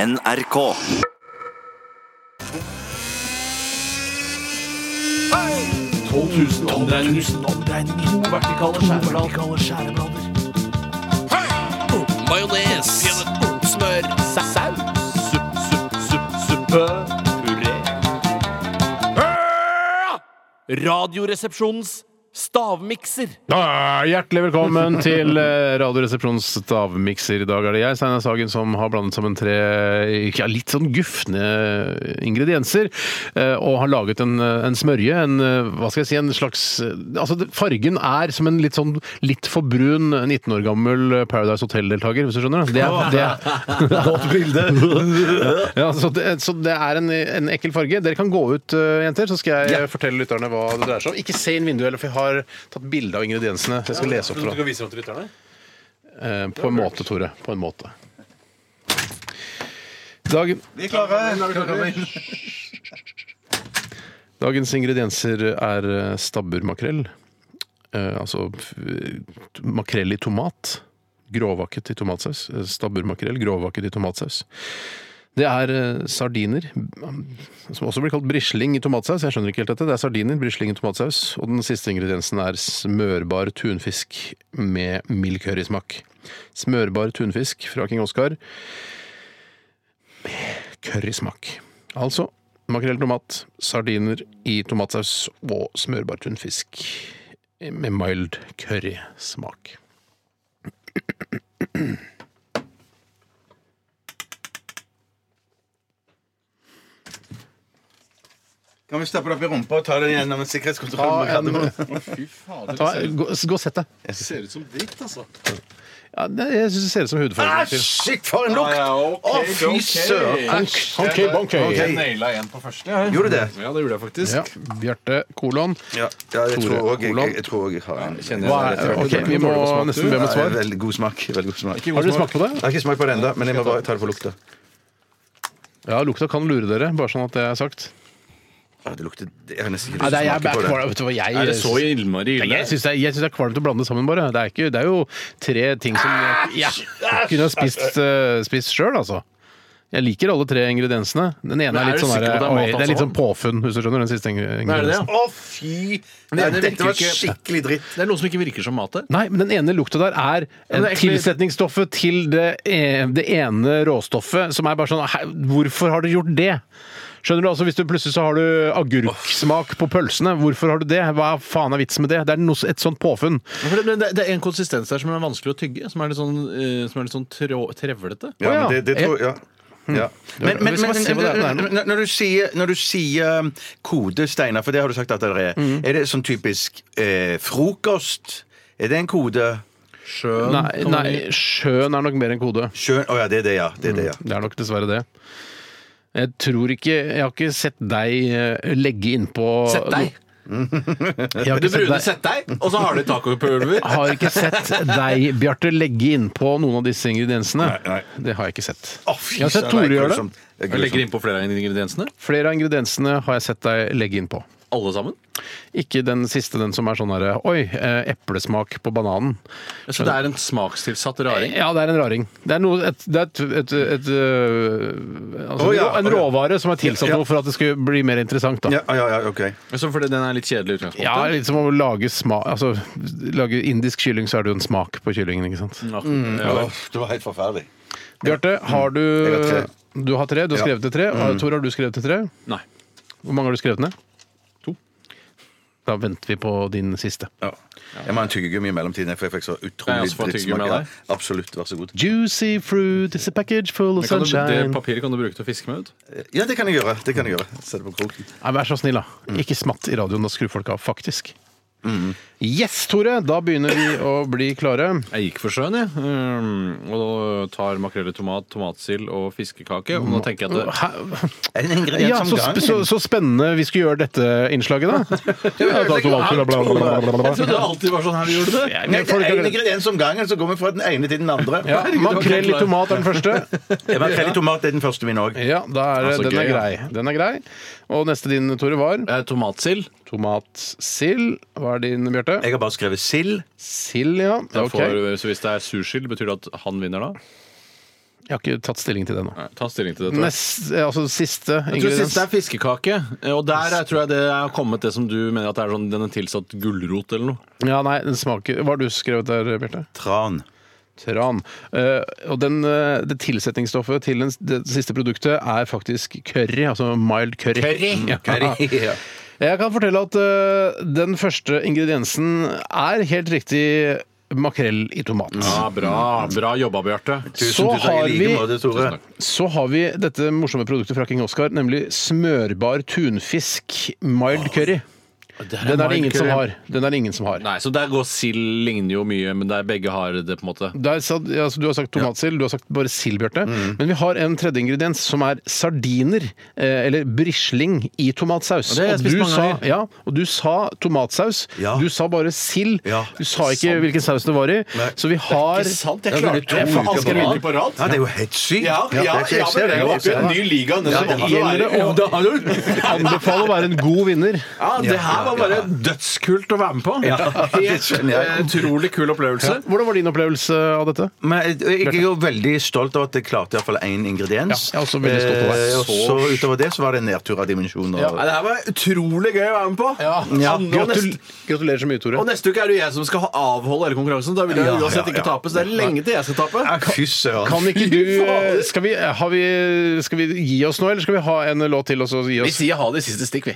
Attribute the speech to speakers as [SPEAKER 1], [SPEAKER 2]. [SPEAKER 1] NRK.
[SPEAKER 2] Majones. Smør. Sau. Supp, supp, supp, suppe. Puré. Radioresepsjonens stavmikser.
[SPEAKER 3] Ah, Hjertelig velkommen til eh, Radioresepsjonens stavmikser. I dag er det jeg, Steinar Sagen, som har blandet sammen tre eh, ja, litt sånn gufne ingredienser. eh, Og har laget en, eh, en smørje. En, eh, hva skal jeg si, en slags eh, Altså, det- fargen er som en litt sånn litt for brun 19 år gammel Paradise Hotel-deltaker, hvis du skjønner? Det er, det er,
[SPEAKER 4] Godt bilde.
[SPEAKER 3] ja, så, det, så det er en, en ekkel farge. Dere kan gå ut, eh, jenter, så skal jeg fortelle lytterne hva det dreier seg om. Ikke se inn vinduet heller, for jeg har tatt bilde av ingrediensene. Så jeg skal lese opp for deg.
[SPEAKER 2] vise dem til lytterne?
[SPEAKER 3] Eh, på en måte, Tore. På en måte. Dag,
[SPEAKER 4] Vi klarer.
[SPEAKER 3] dagens ingredienser er eh, stabburmakrell. Eh, altså f- makrell i tomat. Gråvakket i tomatsaus. Eh, Stabburmakrell gråvakket i tomatsaus. Det er eh, sardiner, som også blir kalt brisling i tomatsaus. Jeg skjønner ikke helt dette. Det er sardiner, brisling i tomatsaus. Og den siste ingrediensen er smørbar tunfisk med mild currysmak. Smørbar tunfisk fra King Oscar. currysmak. Altså makrell i tomat, sardiner i tomatsaus og smørbar tunfisk med mild currysmak.
[SPEAKER 4] Kan vi stappe det opp i rumpa og ta det gjennom en sikkerhetskontroll?
[SPEAKER 3] Ta en-
[SPEAKER 2] Fy fader,
[SPEAKER 3] Ta, gå, gå og sett deg.
[SPEAKER 2] det ser ut som dritt, altså.
[SPEAKER 3] Ja, det, jeg syns det ser ut som hudfargen. til-
[SPEAKER 4] Shit, for en lukt! Å, fy søren!
[SPEAKER 3] Ok, bonk,
[SPEAKER 4] Ok.
[SPEAKER 2] Naila en på første. Ja,
[SPEAKER 4] Gjorde du det?
[SPEAKER 2] ja det gjorde jeg faktisk.
[SPEAKER 3] Ja, Bjarte kolon.
[SPEAKER 4] Ja, jeg
[SPEAKER 3] Tore
[SPEAKER 4] tror òg jeg,
[SPEAKER 3] Olav.
[SPEAKER 4] jeg, tror også jeg har en.
[SPEAKER 3] Hva er, ok, vi må nesten be om et
[SPEAKER 4] Ja,
[SPEAKER 3] svar.
[SPEAKER 4] veldig god smak. Veldig god smak.
[SPEAKER 3] Har dere smakt på det?
[SPEAKER 4] Jeg har ikke smakt på det ennå, men jeg må bare ta det for lukta.
[SPEAKER 3] Ja, lukta kan lure dere, bare sånn at det er sagt.
[SPEAKER 4] Ja, det lukter Jeg har nesten ikke
[SPEAKER 3] Nei,
[SPEAKER 4] lyst
[SPEAKER 3] det
[SPEAKER 4] til
[SPEAKER 3] er
[SPEAKER 4] å
[SPEAKER 3] jeg,
[SPEAKER 4] smake på det.
[SPEAKER 3] vet du hva jeg
[SPEAKER 2] Er det så innmari
[SPEAKER 3] Nei,
[SPEAKER 2] ille?
[SPEAKER 3] Jeg syns det, er- jeg synes det er kvalmt å blande det sammen, bare. Det er, ikke, det er jo tre ting som jeg ja, kunne ha spist, uh, spist sjøl, altså. Jeg liker alle tre ingrediensene. Den ene
[SPEAKER 2] Men
[SPEAKER 3] er
[SPEAKER 2] er
[SPEAKER 3] litt
[SPEAKER 2] du
[SPEAKER 3] sånn
[SPEAKER 2] sikker på
[SPEAKER 3] der,
[SPEAKER 2] at det
[SPEAKER 3] oi,
[SPEAKER 2] er mat,
[SPEAKER 3] det er litt sånn
[SPEAKER 2] altså?
[SPEAKER 3] påfunn, hvis du skjønner. Den siste ingre-
[SPEAKER 2] Hva er det det?
[SPEAKER 3] ingrediensen.
[SPEAKER 2] Å, fy!
[SPEAKER 4] Nei,
[SPEAKER 2] Nei, det,
[SPEAKER 4] Dette
[SPEAKER 2] virker
[SPEAKER 4] var
[SPEAKER 2] ikke,
[SPEAKER 4] skikkelig dritt.
[SPEAKER 2] det er noe som ikke virker som mat. det.
[SPEAKER 3] Nei, men den ene lukta der er,
[SPEAKER 2] men det er egentlig-
[SPEAKER 3] tilsetningsstoffet til det, eh, det ene råstoffet, som er bare sånn «Hæ, Hvorfor har du gjort det? Skjønner du, altså Hvis du plutselig så har du agurksmak på pølsene, hvorfor har du det? Hva faen er vitsen med det? Det er noe, et sånt påfunn.
[SPEAKER 2] For det, det, det er en konsistens der som er vanskelig å tygge. Som er litt sånn, eh, som er litt sånn trå, trevlete.
[SPEAKER 4] Ja,
[SPEAKER 3] Å, ja. Mm.
[SPEAKER 4] men det, det tror jeg ja. Ja. Men, men, men,
[SPEAKER 3] Vi skal bare se hva det er. Det er noe-
[SPEAKER 4] når- når du sier, når du sier um, kode, Steinar, for det har du sagt at det er,
[SPEAKER 3] Mm.
[SPEAKER 4] er det sånn typisk eh, frokost? Er det en kode?
[SPEAKER 2] Sjøen
[SPEAKER 3] Nei,
[SPEAKER 2] kan
[SPEAKER 3] nei,
[SPEAKER 2] være-
[SPEAKER 3] sjøen er nok mer enn kode.
[SPEAKER 4] Skjøn... Å ja, det er det, ja. Det er det, ja.
[SPEAKER 3] Det er nok dessverre det. Jeg tror ikke Jeg har ikke sett deg eh, legge innpå
[SPEAKER 2] Sett deg.
[SPEAKER 3] Jeg har ikke
[SPEAKER 2] Du
[SPEAKER 3] sett
[SPEAKER 2] brune
[SPEAKER 3] deg.
[SPEAKER 2] sett deg, og så har du tacopulver.
[SPEAKER 3] Har ikke sett deg, Bjarte, legge innpå noen av disse ingrediensene.
[SPEAKER 4] Nei,
[SPEAKER 3] Det har jeg ikke sett.
[SPEAKER 4] Å, fy
[SPEAKER 3] Jeg har sett
[SPEAKER 4] søren,
[SPEAKER 3] Tore
[SPEAKER 4] det er
[SPEAKER 3] gjøre det.
[SPEAKER 4] grusomt. Det er
[SPEAKER 2] Jeg legger
[SPEAKER 4] grusomt.
[SPEAKER 2] innpå flere av ingrediensene.
[SPEAKER 3] Flere av ingrediensene har jeg sett deg legge innpå.
[SPEAKER 2] Alle sammen.
[SPEAKER 3] Ikke den siste, den som er sånn herre Oi, eh, eplesmak på bananen.
[SPEAKER 2] Så det er en smakstilsatt raring.
[SPEAKER 3] Ja, det er en raring. Det er, noe, et, det er et, et, et, øh, altså,
[SPEAKER 4] Å, ja.
[SPEAKER 3] En råvare som er tilsatt
[SPEAKER 4] Ja.
[SPEAKER 3] noe for at det skulle bli mer interessant. Da.
[SPEAKER 4] Ja, ja, ja, ok.
[SPEAKER 2] Eh, Så fordi den er litt kjedelig i utgangspunktet.
[SPEAKER 3] Ja, litt som å lage sma altså, lage indisk kylling, så er det jo en smak på kyllingen, ikke sant.
[SPEAKER 2] Ja.
[SPEAKER 4] Åh, det var helt forferdelig.
[SPEAKER 3] Bjarte, har du
[SPEAKER 4] Jeg har tre.
[SPEAKER 3] Du har tre, du har
[SPEAKER 4] Ja.
[SPEAKER 3] skrevet til tre. Mm. Tor, har du skrevet til tre?
[SPEAKER 2] Nei.
[SPEAKER 3] Hvor mange har du skrevet ned? To. Da venter vi på din siste.
[SPEAKER 4] Ja. Jeg må ha en tyggegummi i mellomtiden, for jeg fikk så
[SPEAKER 2] Kan jeg
[SPEAKER 4] utrolig
[SPEAKER 2] også få en
[SPEAKER 4] drittsmak.
[SPEAKER 2] tyggegummi av
[SPEAKER 4] Ja,
[SPEAKER 2] deg?
[SPEAKER 4] absolutt, vær så god.
[SPEAKER 3] Juicy fruit is a package full of
[SPEAKER 2] Men kan du, det
[SPEAKER 3] sunshine.
[SPEAKER 2] papiret kan du bruke til å fiske med ut.
[SPEAKER 4] Ja, det kan jeg gjøre. det kan jeg gjøre. Sett det på kroken.
[SPEAKER 3] Nei, vær så snill, da.
[SPEAKER 2] Mm.
[SPEAKER 3] Ikke smatt i radioen, da skrur folk av, faktisk. Yes, Tore! Da begynner vi å bli klare.
[SPEAKER 2] Jeg gikk for sjøen, jeg. Um, og da tar makrell i tomat, tomatsild og fiskekake. Og nå tenker jeg at det,
[SPEAKER 3] Hæ?
[SPEAKER 4] Er det en ingrediens
[SPEAKER 3] Ja,
[SPEAKER 4] om
[SPEAKER 3] så,
[SPEAKER 4] gangen?
[SPEAKER 3] så, så spennende vi skulle gjøre dette innslaget, da. Ja, da tomater, bla, bla, bla, bla, bla,
[SPEAKER 2] Jeg trodde det alltid var sånn her vi gjorde det.
[SPEAKER 3] Ja,
[SPEAKER 4] Nei,
[SPEAKER 3] men
[SPEAKER 4] det er en
[SPEAKER 3] folk-
[SPEAKER 4] ingrediens om gangen, så går vi fra den ene til den andre.
[SPEAKER 3] Ja, Makrell i tomat er den første.
[SPEAKER 4] Jeg var krell i tomat er den første min òg.
[SPEAKER 3] Ja, da er,
[SPEAKER 2] Ja, så
[SPEAKER 3] det- den er
[SPEAKER 2] gøy, ja.
[SPEAKER 3] grei. Den er grei. Og neste din, Tore, var
[SPEAKER 2] Eh, Tomatsild.
[SPEAKER 3] tomatsild. Hva er din, Bjarte?
[SPEAKER 4] Jeg har bare skrevet sild.
[SPEAKER 3] Sild, ja.
[SPEAKER 2] Da
[SPEAKER 3] Ok.
[SPEAKER 2] får- Så hvis det er sursild, betyr det at han vinner da?
[SPEAKER 3] Jeg har ikke tatt stilling til det ennå.
[SPEAKER 2] Nei, Ta stilling til dette.
[SPEAKER 3] Nest- eh, Altså siste
[SPEAKER 2] Jeg tror
[SPEAKER 3] ingrediens.
[SPEAKER 2] siste er fiskekake, Eh, og der er- tror jeg det er kommet det som du mener at det er sånn, den er tilsatt gulrot eller noe.
[SPEAKER 3] Ja, nei, den smaker Hva har du skrevet der, Bjarte?
[SPEAKER 4] Tran.
[SPEAKER 3] Tran. Eh, og den, eh, det tilsetningsstoffet til den, det siste produktet er faktisk curry, altså mild curry. Mm,
[SPEAKER 2] Curry?
[SPEAKER 3] Ja.
[SPEAKER 4] Curry, ja.
[SPEAKER 3] Jeg kan fortelle at eh, den første ingrediensen er helt riktig makrell i tomat.
[SPEAKER 2] Ja, Bra bra jobba, Bjarte.
[SPEAKER 4] Tusen,
[SPEAKER 3] Så
[SPEAKER 4] tusen
[SPEAKER 3] har
[SPEAKER 4] takk i like
[SPEAKER 3] vi-
[SPEAKER 4] måte, Tore.
[SPEAKER 2] Tusen takk.
[SPEAKER 3] Så har vi dette morsomme produktet fra King Oscar, nemlig smørbar tunfisk mild curry. Den er det ingen som har. Den er det ingen som har.
[SPEAKER 2] Nei, så der går sild ligner jo mye, men der begge har det, på en måte.
[SPEAKER 3] Der sa, altså, du har sagt tomatsild, du har sagt bare sild, Bjarte.
[SPEAKER 2] Mm.
[SPEAKER 3] Men vi har en tredje ingrediens som er sardiner, eh, eller brisling, i tomatsaus.
[SPEAKER 2] Og det har jeg spist
[SPEAKER 3] du
[SPEAKER 2] mange
[SPEAKER 3] sa,
[SPEAKER 2] ganger.
[SPEAKER 3] ja, og du sa tomatsaus.
[SPEAKER 4] Ja.
[SPEAKER 3] Du sa bare sild.
[SPEAKER 4] Ja,
[SPEAKER 3] Du sa ikke hvilken saus det var i.
[SPEAKER 4] Nei.
[SPEAKER 3] Så vi har
[SPEAKER 2] jeg
[SPEAKER 4] klarte det.
[SPEAKER 2] det.
[SPEAKER 4] Faen, skal jeg
[SPEAKER 2] på rad?
[SPEAKER 4] Ja, det er jo helt sykt. Jeg ser- jeg ser det. Jeg ser det.
[SPEAKER 2] liga.
[SPEAKER 4] Ja, det må
[SPEAKER 3] være- Anbefaler å være en god vinner.
[SPEAKER 2] Ja, det her var bare dødskult å være med på.
[SPEAKER 4] det
[SPEAKER 2] Helt
[SPEAKER 4] skjønner jeg.
[SPEAKER 2] eh, utrolig kul opplevelse.
[SPEAKER 3] Hvordan var din opplevelse av dette?
[SPEAKER 4] Men jeg jeg er jo veldig stolt av at jeg klarte iallfall én ingrediens.
[SPEAKER 3] Ja, jeg er også veldig stolt av deg.
[SPEAKER 4] Eh, og så utover det så var det en nedtur av dimensjoner.
[SPEAKER 2] Nei, det her var utrolig gøy å være med på.
[SPEAKER 4] Ja.
[SPEAKER 2] Og
[SPEAKER 3] Gratul
[SPEAKER 2] neste-
[SPEAKER 3] Gratulerer så mye, Tore.
[SPEAKER 2] Og neste uke er det jo jeg som skal ha- avholde hele konkurransen. Da vil jeg
[SPEAKER 4] Ja,
[SPEAKER 2] uansett
[SPEAKER 4] ja,
[SPEAKER 2] ikke
[SPEAKER 4] ja.
[SPEAKER 2] tape, så det er lenge til jeg skal tape.
[SPEAKER 4] Ja, Fy søren.
[SPEAKER 3] Kan ikke du
[SPEAKER 2] Fy faen.
[SPEAKER 3] skal vi, har vi, skal vi gi oss nå, eller skal vi ha en låt til og så gi
[SPEAKER 2] Vi
[SPEAKER 3] oss?
[SPEAKER 2] sier ha det i siste stikk, vi.